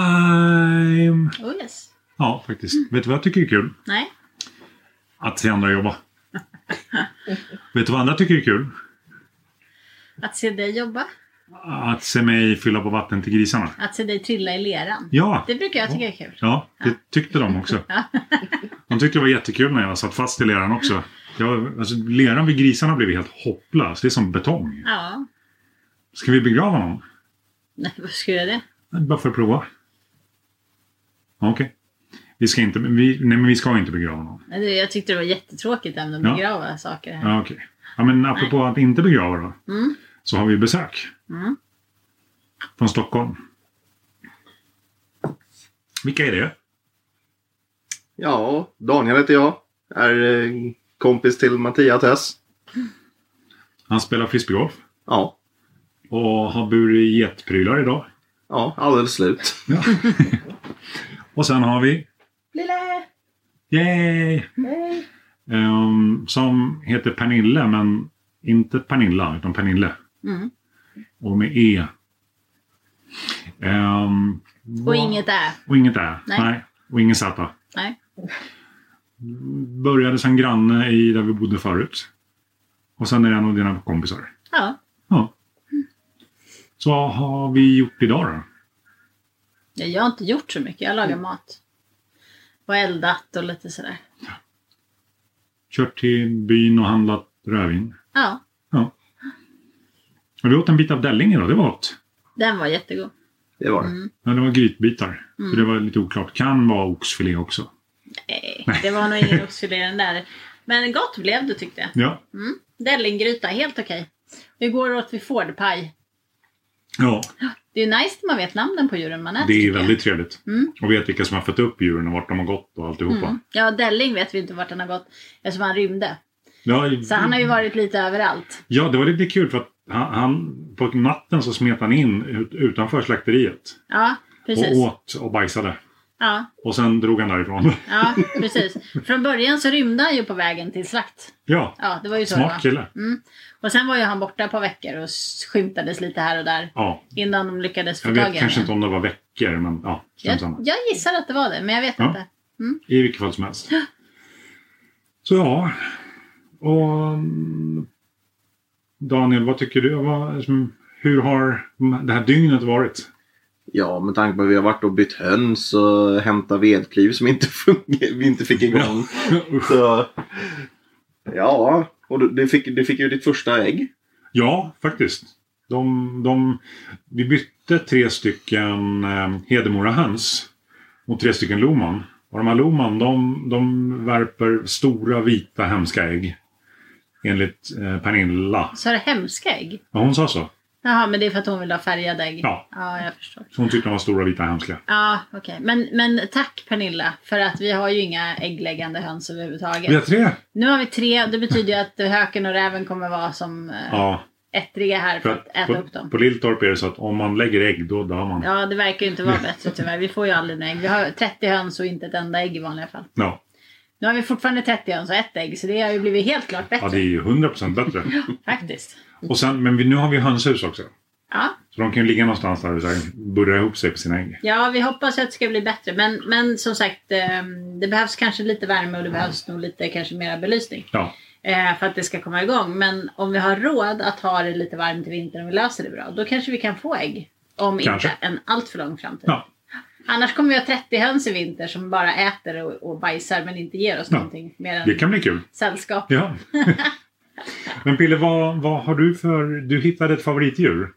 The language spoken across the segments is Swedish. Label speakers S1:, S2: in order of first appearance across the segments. S1: showtime!
S2: Oh yes.
S1: Ja, faktiskt. Vet du vad jag tycker är kul?
S2: Nej.
S1: Att se andra jobba. Vet du vad andra tycker är kul?
S2: Att se dig jobba.
S1: Att se mig fylla på vatten till grisarna.
S2: Att se dig trilla i leran.
S1: Ja!
S2: Det brukar jag tycka är kul.
S1: Ja, det tyckte de också.
S2: Ja.
S1: De tyckte det var jättekul när jag satt fast i leran också. Jag, alltså, leran vid grisarna blev helt hopplös. Det är som betong.
S2: ja.
S1: Ska vi begrava någon?
S2: Nej, vad ska jag göra det?
S1: Nej, Bara för att prova. Ja, Okej. Vi ska inte... Vi, nej, men vi ska inte begrava någon.
S2: Nej, det- Jag tyckte det var jättetråkigt ämne att
S1: Ja.
S2: begrava saker här.
S1: Ja, okej. Ja, men apropå att inte begrava då.
S2: Mm.
S1: Så har vi besök.
S2: Mm.
S1: Från Stockholm. Vilka är det?
S3: Ja, Daniel heter jag. Är eh, kompis till Mattias Tess.
S1: Han spelar frisbeegolf.
S3: Ja,
S1: Och har burit getprylar idag.
S3: ja, alldeles slut.
S1: Ja. och sen har vi...
S4: Lille!
S1: Yay!
S4: Hej!
S2: Mm.
S1: Ehm, som heter Pernille, men inte Pernilla, utan Pernille.
S2: Mm.
S1: Och med E. Ehm,
S2: Och
S1: vad-
S2: inget är.
S1: Och inget Ä. Nej.
S2: Nej.
S1: Och ingen Z.
S2: Nej.
S1: Började som granne i där vi bodde förut. Och sen är det en av dina kompisar.
S2: Ja.
S1: Ja. Så vad har vi gjort idag då?
S2: Ja, Jag har inte gjort så mycket. Jag lagar
S1: Mm.
S2: mat. Och eldat och lite sådär.
S1: Kört till byn och handlat rödvin.
S2: Ja.
S1: Och vi åt en bit av Delling idag, det var gott.
S2: Den var jättegod.
S3: Det var det.
S2: Mm.
S1: Ja, det var grytbitar.
S2: Mm.
S1: Så det var lite oklart. Kan vara oxfilé också.
S2: Nej, det var nog ingen oxfilé i den där. Men gott blev det tyckte jag. Mm.
S1: Ja.
S2: Dellinggryta, helt okej. Och Igår åt vi fårpaj.
S1: Ja,
S2: Det är nice när man vet namnen på djuren man äter.
S1: det är
S2: tycker jag.
S1: väldigt trevligt.
S2: Mm.
S1: Och vet vilka som har fött upp djuren och vart de har gått och alltihopa.
S2: Mm. Ja, Delling vet vi inte vart han har gått eftersom han rymde.
S1: Ja,
S2: Så han har ju varit lite överallt.
S1: Ja, det var lite kul för att han, han på natten så smet han in ut, utanför slakteriet.
S2: Ja,
S1: Och
S2: precis.
S1: åt och bajsade.
S2: Ja,
S1: Och sen drog han därifrån.
S2: ja, precis. Från början så rymde han ju på vägen till slakt.
S1: ja,
S2: Ja, det var ju så.
S1: smart
S2: det var.
S1: kille.
S2: Mm. Och sen var ju han borta ett par veckor och s- skymtades lite här och där
S1: Ja,
S2: innan de lyckades få
S1: jag
S2: tag i
S1: vet
S2: honom.
S1: kanske inte om det var veckor, men ja, strunt samma.
S2: jag, jag gissar att det var det, men jag vet
S1: Ja.
S2: inte.
S1: I vilket fall som helst. Så ja. Och mm, Daniel, vad tycker du? Vad, liksom, hur har det här dygnet varit?
S3: Ja, med tanke på att vi har varit och bytt höns och hämtat vedklyv som inte fungerar, vi inte fick igång.
S1: Usch.
S3: Så, ja, och du, du, fick, du fick ju ditt första ägg.
S1: ja, faktiskt. De, de, vi bytte tre stycken eh, Hedemorahöns mot tre stycken Loman. Och de här Loman, de, de värper stora vita hemska ägg. Enligt eh, Pernilla.
S2: Så är det hemska ägg?
S1: Ja, hon sa så.
S2: Jaha, men det är för att hon vill ha färgade ägg?
S1: Ja.
S2: Ja, jag förstår.
S1: Så hon tyckte de var stora vita hemska.
S2: Ja, okej. Men, men tack Pernilla, för att vi har ju inga äggläggande höns överhuvudtaget.
S1: Vi har tre.
S2: Nu har vi tre, det betyder ju att höken och räven kommer vara som eh,
S1: Ja,
S2: ettriga här för att äta
S1: på,
S2: upp dem.
S1: På Lilltorp är det så att om man lägger ägg då dör man. Ja.
S2: Ja, det verkar ju inte vara bättre tyvärr. Vi får ju aldrig några ägg. Vi har 30 höns och inte ett enda ägg i vanliga fall.
S1: Ja.
S2: Nu har vi fortfarande 30 höns och ett ägg, så det har ju blivit helt klart bättre
S1: det är ju 100% bättre.
S2: faktiskt.
S1: Och sen, men vi, nu har vi hönshus också.
S2: Ja.
S1: Så de kan ju ligga någonstans där och så här burra ihop sig på sina ägg.
S2: ja, vi hoppas att det ska bli bättre. Men, men som sagt, eh, det behövs kanske lite värme och det behövs nog lite kanske mera belysning.
S1: Ja,
S2: eh, för att det ska komma igång. Men om vi har råd att ha det lite varmt i vintern och vi löser det bra, då kanske vi kan få ägg. Om
S1: Kanske.
S2: inte en allt för lång framtid.
S1: Ja.
S2: Annars kommer vi ha 30 höns i vinter som bara äter och, och bajsar men inte ger oss
S1: Ja.
S2: någonting mer än
S1: det kan bli kul.
S2: sällskap.
S1: Ja. men Pille, vad, vad har du för... Du hittade ett favoritdjur.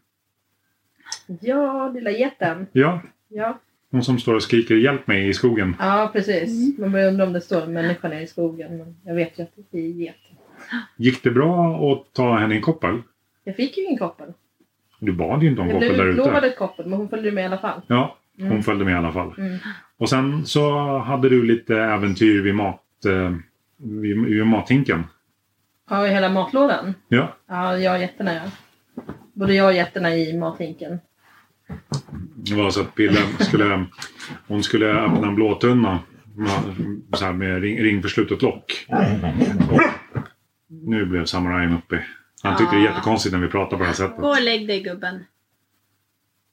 S4: Ja, lilla jätten.
S1: Ja,
S4: Ja,
S1: hon som står och skriker hjälp mig i skogen.
S4: ja precis. Man börjar undra om det står en människa nere i skogen. Men jag vet ju att det är geten.
S1: Gick det bra att ta henne i en koppel?
S4: Jag fick ju ingen koppel.
S1: Du bad ju inte om
S4: Jag blev
S1: koppel där
S4: utlovad
S1: ute.
S4: ett koppel, men hon följde med i alla fall.
S1: Ja, hon
S4: Mm.
S1: följde med i alla fall.
S4: Mm.
S1: Och sen så hade du lite äventyr vid, mat, eh, vid, vid mathinken.
S4: Ja, i hela matlådan.
S1: Ja.
S4: Ja, jag och getterna ja. Både jag och getterna i mathinken.
S1: Det var så att Pille skulle, hon skulle öppna en blåtunna med- så här med ring, ring för slutet lock. Och nu blev samurajen uppe. Han tyckte det
S2: Ah.
S1: är jättekonstigt när vi pratar på det här sättet.
S2: Gå och lägg dig gubben.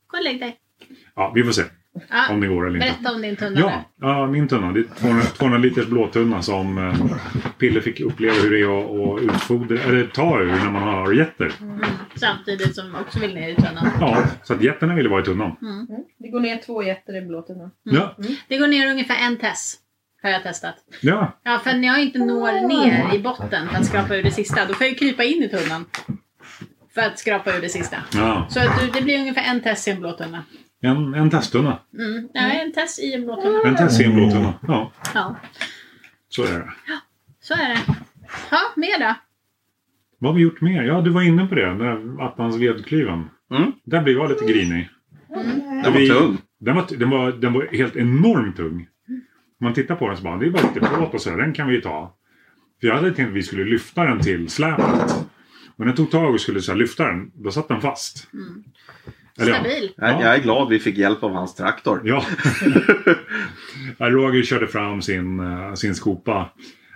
S2: Gå och lägg dig.
S1: Ja, vi får se.
S2: Ja,
S1: om det går eller inte.
S2: Ah, berätta om din tunna
S1: Ja, ja, min tunna. Det är 200, 200 liters blåtunna som eh, Pille fick uppleva hur det är att- att utfodra, eller ta ur när man har getter.
S2: där. Mm. Samtidigt som också vill ner i tunnan.
S1: Ja, så att getterna ville vara i tunnan.
S4: Mm. Det går ner två getter i blåtunnan.
S2: Mm.
S1: Ja,
S2: Det går ner ungefär en tess. Har jag testat.
S1: ja.
S2: Ja, för när jag inte når ner i botten för att skrapa ur det sista, då får jag ju krypa in i tunnan. För att skrapa ur det sista.
S1: ja.
S2: Så att du, det blir ungefär en test i en blå tunna.
S1: En, en testtunna.
S2: Mm. Nej, en test i en blå tunna.
S1: En test i en blåtunna. Ja,
S2: Ja,
S1: så är det.
S2: så är det. Ja, mer då?
S1: Vad har vi gjort mer? Ja, du var inne på det. Den där attans vedklyven.
S3: Mm.
S1: Där blev jag lite grinig.
S3: Den var
S1: Vi-
S3: tung.
S1: Den var, den, var, den var helt enormt tung. Man tittar på den så bara, det är bara lite plåt och så, här, den kan vi ju ta. För jag hade tänkt att vi skulle lyfta den till släpet. Och när jag tog tag och skulle så här, lyfta den, då satt den fast.
S2: Mm.
S1: Eller ja.
S2: Stabil.
S3: Jag,
S1: Ja.
S3: jag är glad vi fick hjälp av hans traktor.
S1: Ja. Ja, Roger körde fram sin, eh, sin skopa.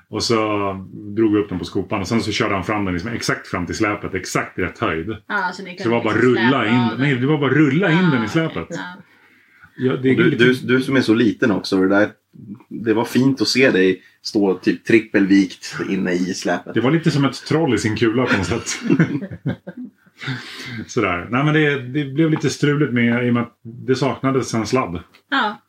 S1: Och så drog vi upp den på skopan och sen så körde han fram den liksom exakt fram till släpet, exakt i rätt höjd.
S2: Ja, så, ni
S1: Så det
S2: kan
S1: var bara
S2: liksom
S1: rulla
S2: släpa av
S1: in,
S2: den.
S1: nej, det var bara rulla in den i släpet.
S2: Ja.
S1: Ja, det är
S3: Och Du,
S1: lite-
S3: du, du som är så liten också. Det, där, det var fint att se dig stå typ trippelvikt inne i släpet.
S1: Det var lite som ett troll i sin kula på något sätt. Sådär. Nej men det, det blev lite struligt med i och med att det saknades en sladd.
S2: ja.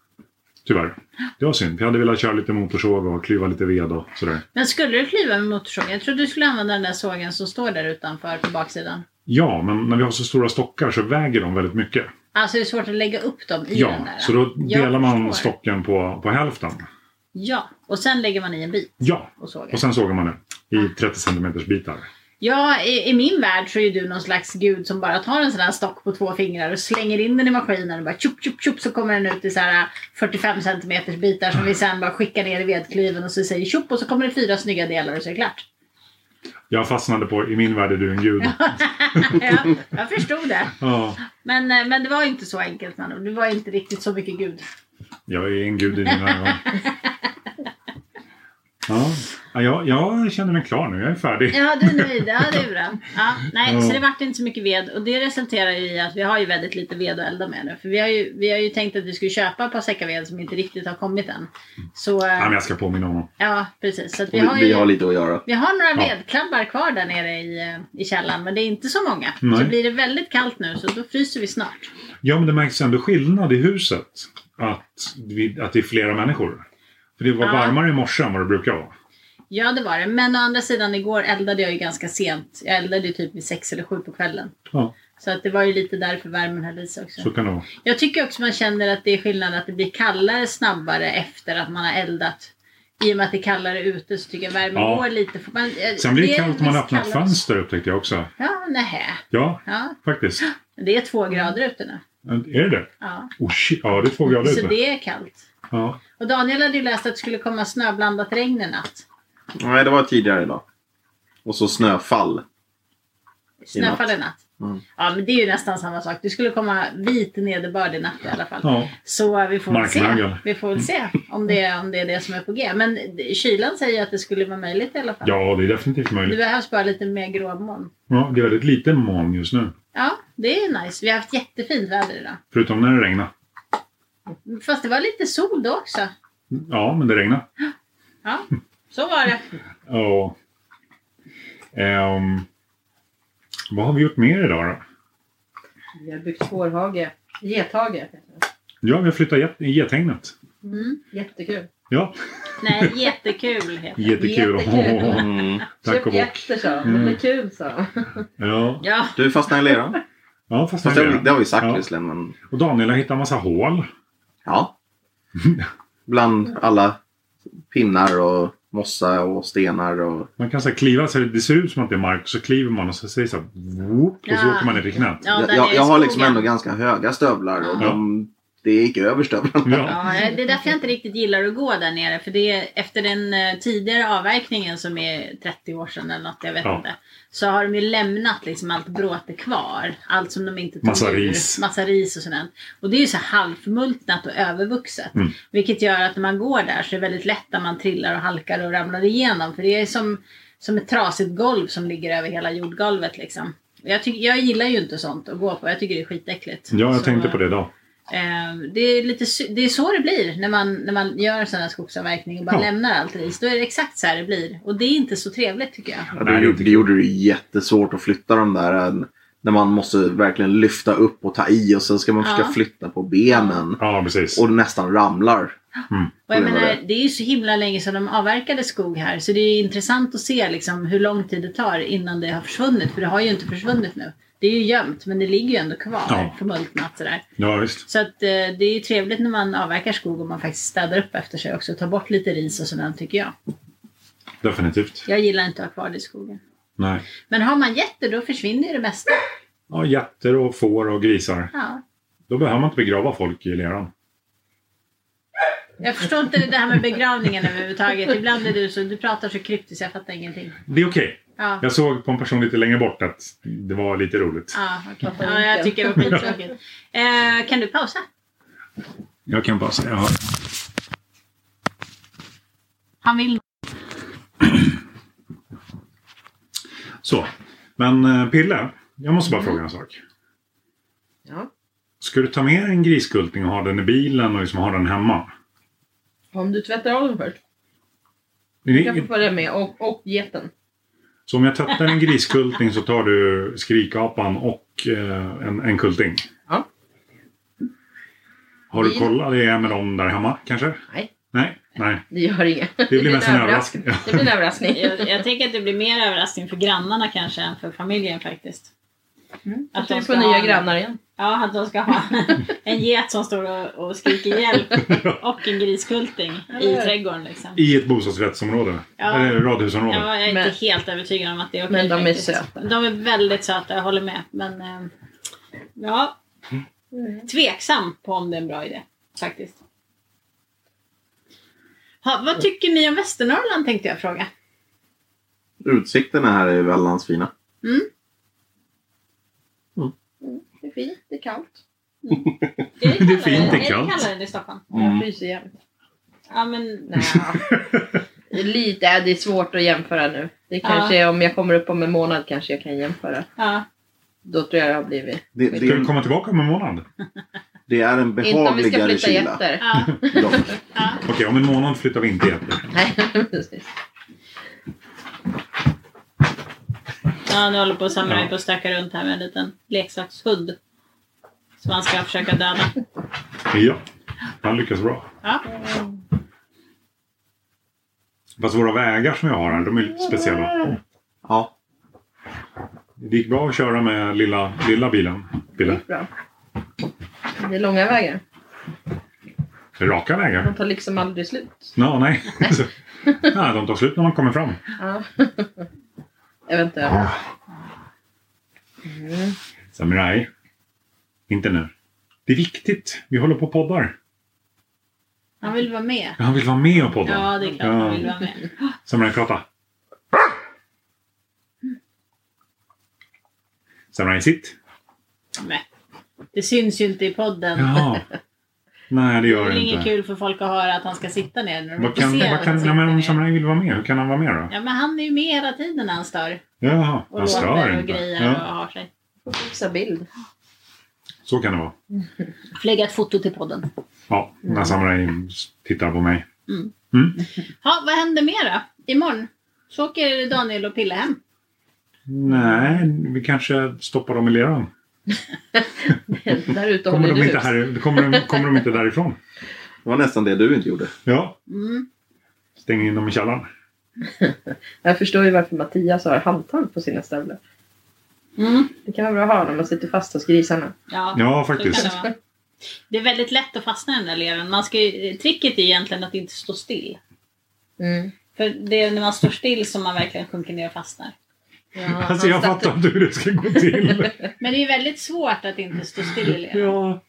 S1: Tyvärr. Det var synd. Jag hade velat köra lite motorsåg och klyva lite ved och sådär.
S2: Men skulle du klyva med motorsågen? Jag trodde du skulle använda den där sågen som står där utanför på baksidan.
S1: Ja, men när vi har så stora stockar så väger de väldigt mycket.
S2: Alltså det är svårt att lägga upp dem i den
S1: Ja,
S2: där.
S1: så då
S2: Jag
S1: delar man
S2: förstår.
S1: stocken på, på hälften.
S2: Ja, och sen lägger man i en bit
S1: Ja,
S2: och sågar.
S1: och sen sågar man det i 30 centimeters bitar.
S2: Ja, i, i min värld så är ju du någon slags gud som bara tar en sån här stock på två fingrar och slänger in den i maskinen och bara tjopp, tjopp, tjopp så kommer den ut i så här 45 centimeters bitar som vi sen bara skickar ner i vedklyven och så säger tjopp och så kommer det fyra snygga delar och så är det klart.
S1: Jag fastnade på, i min värld är du en gud.
S2: ja, jag förstod det.
S1: Ja,
S2: Men, eh, men det var ju inte så enkelt man. Du var inte riktigt så mycket gud.
S1: Jag är en gud i dina ögon. Ja, ja jag, jag känner mig klar nu. Jag är färdig.
S2: Ja, du är nöjd. Ja, det är bra. Ja, nej,
S1: Ja.
S2: så det vart inte så mycket ved. Och det resulterar ju i att vi har ju väldigt lite ved att elda med nu. För vi har ju, vi har ju tänkt att vi skulle köpa ett par säckar ved som inte riktigt har kommit än. Så, eh,
S1: Nej, men jag ska påminna honom.
S2: ja, precis. Så att vi,
S3: Vi,
S2: har ju,
S3: vi har lite att göra.
S2: vi har några
S1: Ja.
S2: vedklabbar kvar där nere i, eh, i källaren, men det är inte så många.
S1: Nej.
S2: Så blir det väldigt kallt nu, så då fryser vi snart.
S1: Ja, men det märks ändå skillnad i huset. Att, vi, att det är flera människor. För det var
S2: Ja.
S1: varmare i morse än vad det brukar vara.
S2: Ja, det var det. Men å andra sidan, igår eldade jag ju ganska sent. Jag eldade ju typ vid sex eller sju på kvällen.
S1: Ja,
S2: Så att det var ju lite därför värmen höll i sig också.
S1: så kan det vara.
S2: Jag tycker också man känner att det är skillnad att det blir kallare snabbare efter att man har eldat. I och med att det är kallare ute så tycker jag värmen
S1: Ja.
S2: går lite. För man,
S1: Sen blir det
S2: är
S1: kallt när man
S2: visst
S1: öppnar
S2: kallare.
S1: fönster upptäckte jag också.
S2: Ja, nähä.
S1: Ja,
S2: Ja,
S1: faktiskt.
S2: det är två grader ute nu.
S1: Är det det?
S2: Ja.
S1: Oh, shit. Ja, det är två grader
S2: Så
S1: ute.
S2: det är kallt.
S1: Ja.
S2: Och Daniel hade ju läst att det skulle komma snöblandat regn i natt.
S3: Nej, det var tidigare idag. Och så snöfall.
S2: Snöfall i natt.
S3: Mm.
S2: Ja, men det är ju nästan samma sak. Det skulle komma vit nederbörd i natt i alla fall.
S1: ja.
S2: Så eh, vi får, väl se.
S1: Marknagel.
S2: vi får väl se om det, är- om det är det som är på G. Men eh, kylan säger ju att det skulle vara möjligt i alla fall.
S1: Ja, det är definitivt
S2: Det
S1: möjligt.
S2: behövs bara lite mer gråmoln.
S1: Ja, det är väldigt lite moln just nu.
S2: Ja, det är nice. Vi har haft jättefint väder idag.
S1: Förutom när det regnar.
S2: Fast det var lite sol då också.
S1: Ja, men det regnar.
S2: Ja, så var det.
S1: Ja. Ehm, vad har vi gjort mer idag då?
S4: Vi har byggt fårhage. Gethage. heter det.
S1: Ja, vi har flyttat get- i gethägnet.
S2: Mm.
S4: Jättekul.
S1: Ja,
S2: Nej, jättekul heter det.
S1: jättekul.
S4: Jättekul.
S1: Åh,
S3: Mm.
S1: tack och
S4: Köp
S1: bock.
S4: getter sa de.
S1: Mm.
S4: Det är kul sa de.
S1: Ja,
S2: Ja,
S3: Du fastnade i leran.
S1: ja fast
S3: Fast det, har vi- det har vi sagt
S1: Ja.
S3: visserligen, men
S1: Och Daniel har hittat en massa hål.
S3: ja. Bland alla pinnar och mossa och stenar och...
S1: Man kan så här kliva så det ser ut som att det är mark. Så kliver man och så säger det så här, whoop, och så
S2: Ja.
S1: åker man ner i knät.
S2: ja där
S3: jag,
S2: nere
S3: jag,
S2: i
S3: jag har
S2: skogen.
S3: liksom ändå ganska höga stövlar och
S1: Ja.
S3: de, det gick över stövlarna.
S1: Ja.
S2: Ja, det är därför jag inte riktigt gillar att gå där nere. För det är, efter den eh, tidigare avverkningen som är 30 år sedan eller något, jag vet
S1: Ja.
S2: inte. Så har de ju lämnat liksom allt bråte kvar. Allt som de inte tog
S1: Massa
S2: ur.
S1: ris.
S2: Massa ris och sådant. Och det är ju så halvmultnat och övervuxet.
S1: Mm.
S2: Vilket gör att när man går där så är det väldigt lätt att man trillar och halkar och ramlar igenom. För det är som, som ett trasigt golv som ligger över hela jordgolvet liksom. Jag, tycker, jag gillar ju inte sånt att gå på. Jag tycker det är skitäckligt.
S1: Ja, jag
S2: Så,
S1: tänkte på det idag.
S2: Eh, det, är lite, sy- det är så det blir när man, när man gör sån här skogsavverkning och bara
S1: Ja.
S2: lämnar allt ris. Då är det exakt så här det blir. Och det är inte så trevligt tycker jag.
S3: Ja,
S1: Nej, det
S3: det,
S1: är
S3: gjorde, det gjorde det ju jättesvårt att flytta de där. eh, När man måste verkligen lyfta upp och ta i och sen ska man
S2: Ja.
S3: försöka flytta på benen.
S1: Ja, precis.
S3: Och nästan ramlar.
S2: Och jag
S3: Det var
S2: menar,
S3: det.
S2: det är ju så himla länge sedan de avverkade skog här. Så det är ju intressant att se liksom, hur lång tid det tar innan det har försvunnit. För det har ju inte försvunnit nu. Det är ju gömt men det ligger ju ändå kvar
S1: Ja.
S2: förmultnat sådär.
S1: Ja, visst.
S2: Så att, eh, det är ju trevligt när man avverkar skog och man faktiskt städar upp efter sig också. Tar bort lite ris och sådant tycker jag.
S1: Definitivt.
S2: Jag gillar inte att ha kvar det i skogen.
S1: Nej.
S2: Men har man getter då försvinner ju det mesta.
S1: Ja, jätter och får och grisar.
S2: Ja.
S1: Då behöver man inte begrava folk i leran.
S2: Jag förstår inte det här med begravningen överhuvudtaget. Ibland är du så, du pratar så kryptiskt, jag fattar ingenting.
S1: Det är okej.
S2: Ja,
S1: Jag såg på en person lite längre bort att det var lite roligt.
S2: ja, okej. ja jag tycker det var skittråkigt. Eh, kan du pausa?
S1: Jag kan bara säga... Ja.
S2: Han vill
S1: Så. Men eh, Pille, jag måste bara fråga en sak.
S4: Ja.
S1: Ska du ta med en griskulting och ha den i bilen och liksom ha den hemma?
S4: Om du tvättar av dem först. Du kan få
S1: Ni-
S4: följa med. Och, och geten.
S1: Så om jag tvättar en griskulting så tar du skrikapan och eh, en, en kulting?
S4: Ja.
S1: Har du
S4: Bil.
S1: kollat det med dem där hemma kanske?
S4: Nej.
S1: Nej, nej.
S4: Det gör inget. Det
S1: blir mest en överraskning.
S4: Det blir en överraskning.
S2: jag, jag tänker att det blir mer överraskning för grannarna kanske än för familjen faktiskt.
S4: Att
S2: Att
S4: vi
S2: de
S4: får
S2: ska
S4: nya
S2: ha-
S4: grannar igen.
S2: Ja, att de ska ha en get som står och, och skriker hjälp och en griskulting i
S4: Eller hur?
S2: trädgården. Liksom.
S1: I ett bostadsrättsområde?
S2: Ja.
S1: Eller radhusområde?
S2: Ja, jag är
S4: Men-
S2: inte helt övertygad om att det är okej.
S4: Men de är
S2: faktiskt.
S4: söta.
S2: De är väldigt söta, jag håller med. Men eh, ja, tveksam på om det är en bra idé faktiskt. Ha, vad tycker ni om Västernorrland tänkte jag fråga.
S3: Utsikterna här är väldigt fina.
S4: Det är fint, det är kallt.
S2: Erik
S1: Det är
S2: kallar
S1: fint, det är
S2: Erik
S1: kallt.
S2: kallar den i Stockholm.
S1: Mm.
S4: Jag fryser jämt.
S2: Ja, men,
S4: Nja. Det är Lite, äh, det är svårt att jämföra nu. Det
S2: Ja.
S4: kanske är om jag kommer upp om en månad kanske jag kan jämföra.
S2: ja.
S4: Då tror jag det har blivit.
S3: Det,
S1: Ska du
S3: det,
S1: komma tillbaka om en månad?
S3: det är en
S4: Inte om vi ska
S3: behagligare
S4: flytta
S3: kyla.
S4: getter.
S2: ja.
S3: dock.
S2: ja.
S1: Okej, om en månad flyttar vi inte jätte.
S4: Nej, precis.
S2: Ja, nu håller på Samurai
S1: Ja.
S2: på att stöka runt här med en liten leksakshund. Som han ska försöka döda.
S1: Ja, han lyckas bra.
S2: Ja.
S1: Fast våra vägar som vi har här, de är lite speciella.
S3: Ja.
S1: Det gick bra att köra med lilla, lilla bilen.
S4: Det
S1: Bilen.
S4: gick bra. Det är långa vägar.
S1: Raka vägar.
S4: De tar liksom aldrig slut.
S1: Nå, nej. nej, de tar slut när man kommer fram.
S4: Ja. Eventuellt. Mm.
S1: Samurai. Inte nu. Det är viktigt. Vi håller på och poddar.
S2: Han vill vara med.
S1: Han vill vara med och podda.
S2: Ja, det är klart han vill vara med.
S1: Samurai, prata. Samurai, sitt.
S2: Men, det syns ju inte i podden.
S1: Ja. Nej, det
S2: det
S1: gör
S2: är
S1: det
S2: inget
S1: inte.
S2: kul för folk att höra att han ska sitta ner när de
S1: Vad
S2: inte
S1: kan,
S2: ser
S1: vad
S2: att
S1: kan,
S2: han
S1: ja, men om
S2: sitter ner.
S1: Samurai vill vara med, hur kan han vara med då?
S2: Ja, men han är ju med hela tiden när han stör.
S1: Jaha,
S2: Och
S1: han stör
S2: låter och
S1: inte.
S2: grejer och
S1: Ja,
S2: har sig.
S4: Får fixa bild.
S1: så kan det vara.
S2: Lägga ett foto till podden.
S1: Ja, när Samurai tittar på mig.
S2: Ja, vad händer mer då? Imorgon? Så åker Daniel och Pille hem.
S1: Nej, vi kanske stoppar dem i leran.
S4: Där ute
S1: Kommer
S4: håller
S1: de,
S4: du
S1: inte
S4: hus.
S1: här, kommer, de, kommer de inte därifrån?
S3: Det var nästan det du inte gjorde.
S1: Ja,
S2: Mm.
S1: stänger in dem i källaren.
S4: Jag förstår ju varför Mattias har handtag på sina stövlar.
S2: Mm.
S4: Det kan vara bra att ha när man sitter fast hos grisarna.
S2: Ja,
S1: Ja,
S2: så kan
S1: faktiskt.
S2: det vara. Det är väldigt lätt att fastna i den där leran. Man ska ju, tricket är egentligen att inte stå still.
S4: Mm.
S2: För det är när man står still som man verkligen sjunker ner och fastnar.
S4: Ja,
S1: Alltså jag
S4: han satt
S1: fattar inte hur det ska gå till.
S2: Men det är väldigt svårt att inte stå still i leran.
S1: Ja.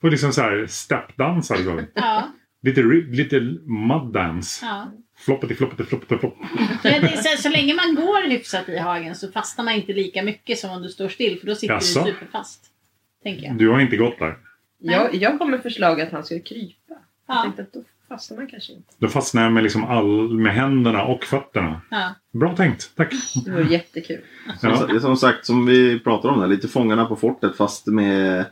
S1: Och liksom så här steppdansa. Liksom.
S2: Ja,
S1: Lite, rib- lite muddance.
S2: ja.
S1: Floppity, floppity, floppity, flopp.
S2: Ja, det är så, här, så länge man går hyfsat i hagen så fastnar man inte lika mycket som om du står still för då sitter
S1: Jaså?
S2: du superfast. Tänker jag.
S1: Du har inte gått där.
S4: Jag, jag kom med förslag att han skulle krypa. Jag
S2: Ja,
S4: tänkte att då fastnar man kanske inte.
S1: Då fastnar jag med, liksom all, med händerna och fötterna.
S2: ja.
S1: Bra tänkt, tack.
S4: Det vore jättekul.
S3: Som,
S1: Ja.
S3: sa- som sagt, som vi pratade om där, lite Fångarna på fortet fast med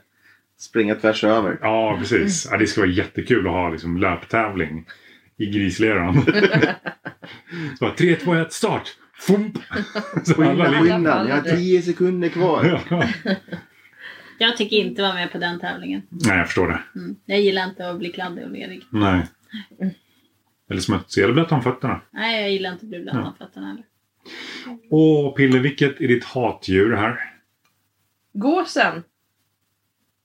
S3: Springa tvärs över.
S1: Ja, precis.
S4: Mm.
S1: Ja, det ska vara jättekul att ha liksom, löptävling i grisleran. så bara, 3, 2, 1, start! Fump! Så alla ligger...
S3: Skynda, jag har tio sekunder kvar.
S1: Ja.
S2: Jag tycker inte vara med på den tävlingen.
S1: Nej, jag förstår det.
S2: Mm. Jag gillar inte att bli kladdig och lerig.
S1: Nej. Eller smutsig, eller blöt om fötterna.
S2: Nej, jag gillar inte att bli blöt om fötterna heller.
S1: Åh, Pille, vilket är ditt hatdjur här?
S4: Gåsen!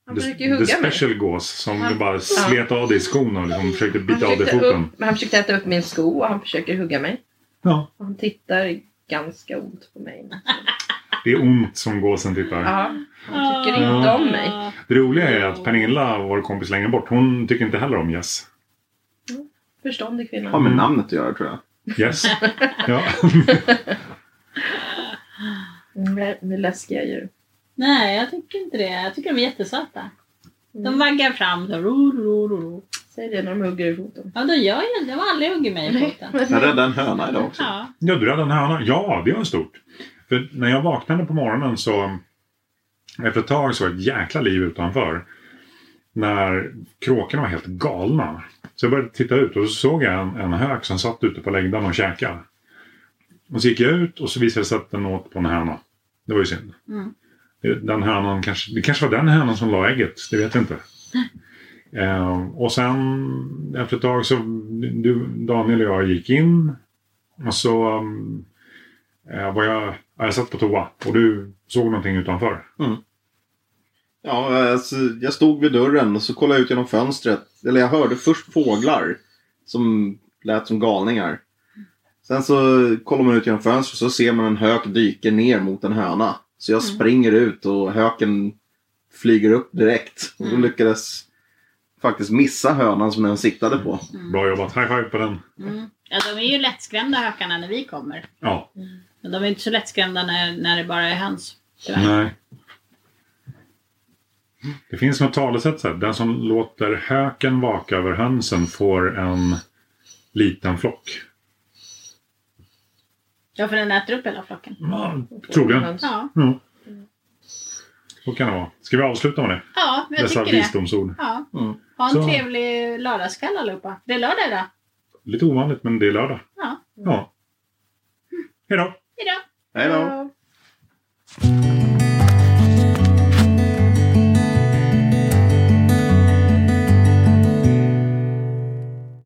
S4: Han försökte ju
S1: the
S4: hugga mig.
S1: special gås som
S4: Han-
S1: du bara slet av dig i skon och liksom försökte
S4: Han
S1: bita av dig
S4: försökte,
S1: foten.
S4: upp, men han försökte äta upp min sko och han försöker hugga mig.
S1: Ja,
S4: Och han tittar ganska ont på mig.
S1: det är ont som gåsen tittar.
S4: Ja, han tycker inte om mig.
S1: Det roliga är att Pernilla, vår kompis längre bort, hon tycker inte heller om Yes.
S4: Förståndig kvinna.
S3: Har med namnet att göra tror jag.
S1: Yes. Ja.
S4: Mm, det är läskiga djur.
S2: Nej, jag tycker inte det. Jag tycker de är jättesöta. De vaggar fram så ro, ro, ro, ro.
S4: Mm. Säg det när de hugger i foten.
S2: Ja, då gör jag det. De har aldrig huggit mig i foten.
S3: Jag räddade en höna idag också.
S2: Ja.
S1: ja, du räddade en höna. Ja, det var stort. För när jag vaknade på morgonen så... Efter ett tag så var det ett jäkla liv utanför. När kråkorna var helt galna. Så jag började titta ut och så såg jag en, en hök som satt ute på längden och käkade. Och så gick jag ut och så visade det sig att den åt på en höna. Det var ju synd.
S2: Mm.
S1: Den hönan kanske, det kanske var den hönan som la ägget, det vet jag inte. Eh, och sen efter ett tag så du, Daniel och jag gick in. Och så um, eh, var jag, ja, jag satt på toa och du såg någonting utanför.
S3: Ja, alltså, jag stod vid dörren och så kollade jag ut genom fönstret. Eller jag hörde först fåglar som lät som galningar. Sen så kollar man ut genom fönstret och så ser man en hök dyka ner mot en höna. Så jag springer ut och höken flyger upp direkt. Och då
S2: Mm.
S3: lyckades faktiskt missa hönan som den siktade på.
S1: Bra jobbat, high five på den.
S2: Mm. Ja, de är ju lättskrämda hökarna när vi kommer.
S1: Ja,
S2: Men de är inte så lättskrämda när, när det bara är höns. Tyvärr.
S1: nej. Det finns något talesätt så här. Den som låter höken vaka över hönsen får en liten flock.
S2: Ja, för den äter upp hela flocken.
S1: Ja, troligen.
S2: Ja,
S1: Ja. Så kan det vara. Ska vi avsluta med det?
S2: ja jag
S1: Dessa
S2: tycker det.
S1: visdomsord.
S2: Ja.
S3: Mm.
S2: Ha en
S1: Så.
S2: trevlig lördagskväll allihopa. Det är lördag idag.
S1: Lite ovanligt, men det är lördag.
S2: Ja.
S1: Ja. Hej då!
S2: Hejdå!
S3: Hej då!
S4: Ja.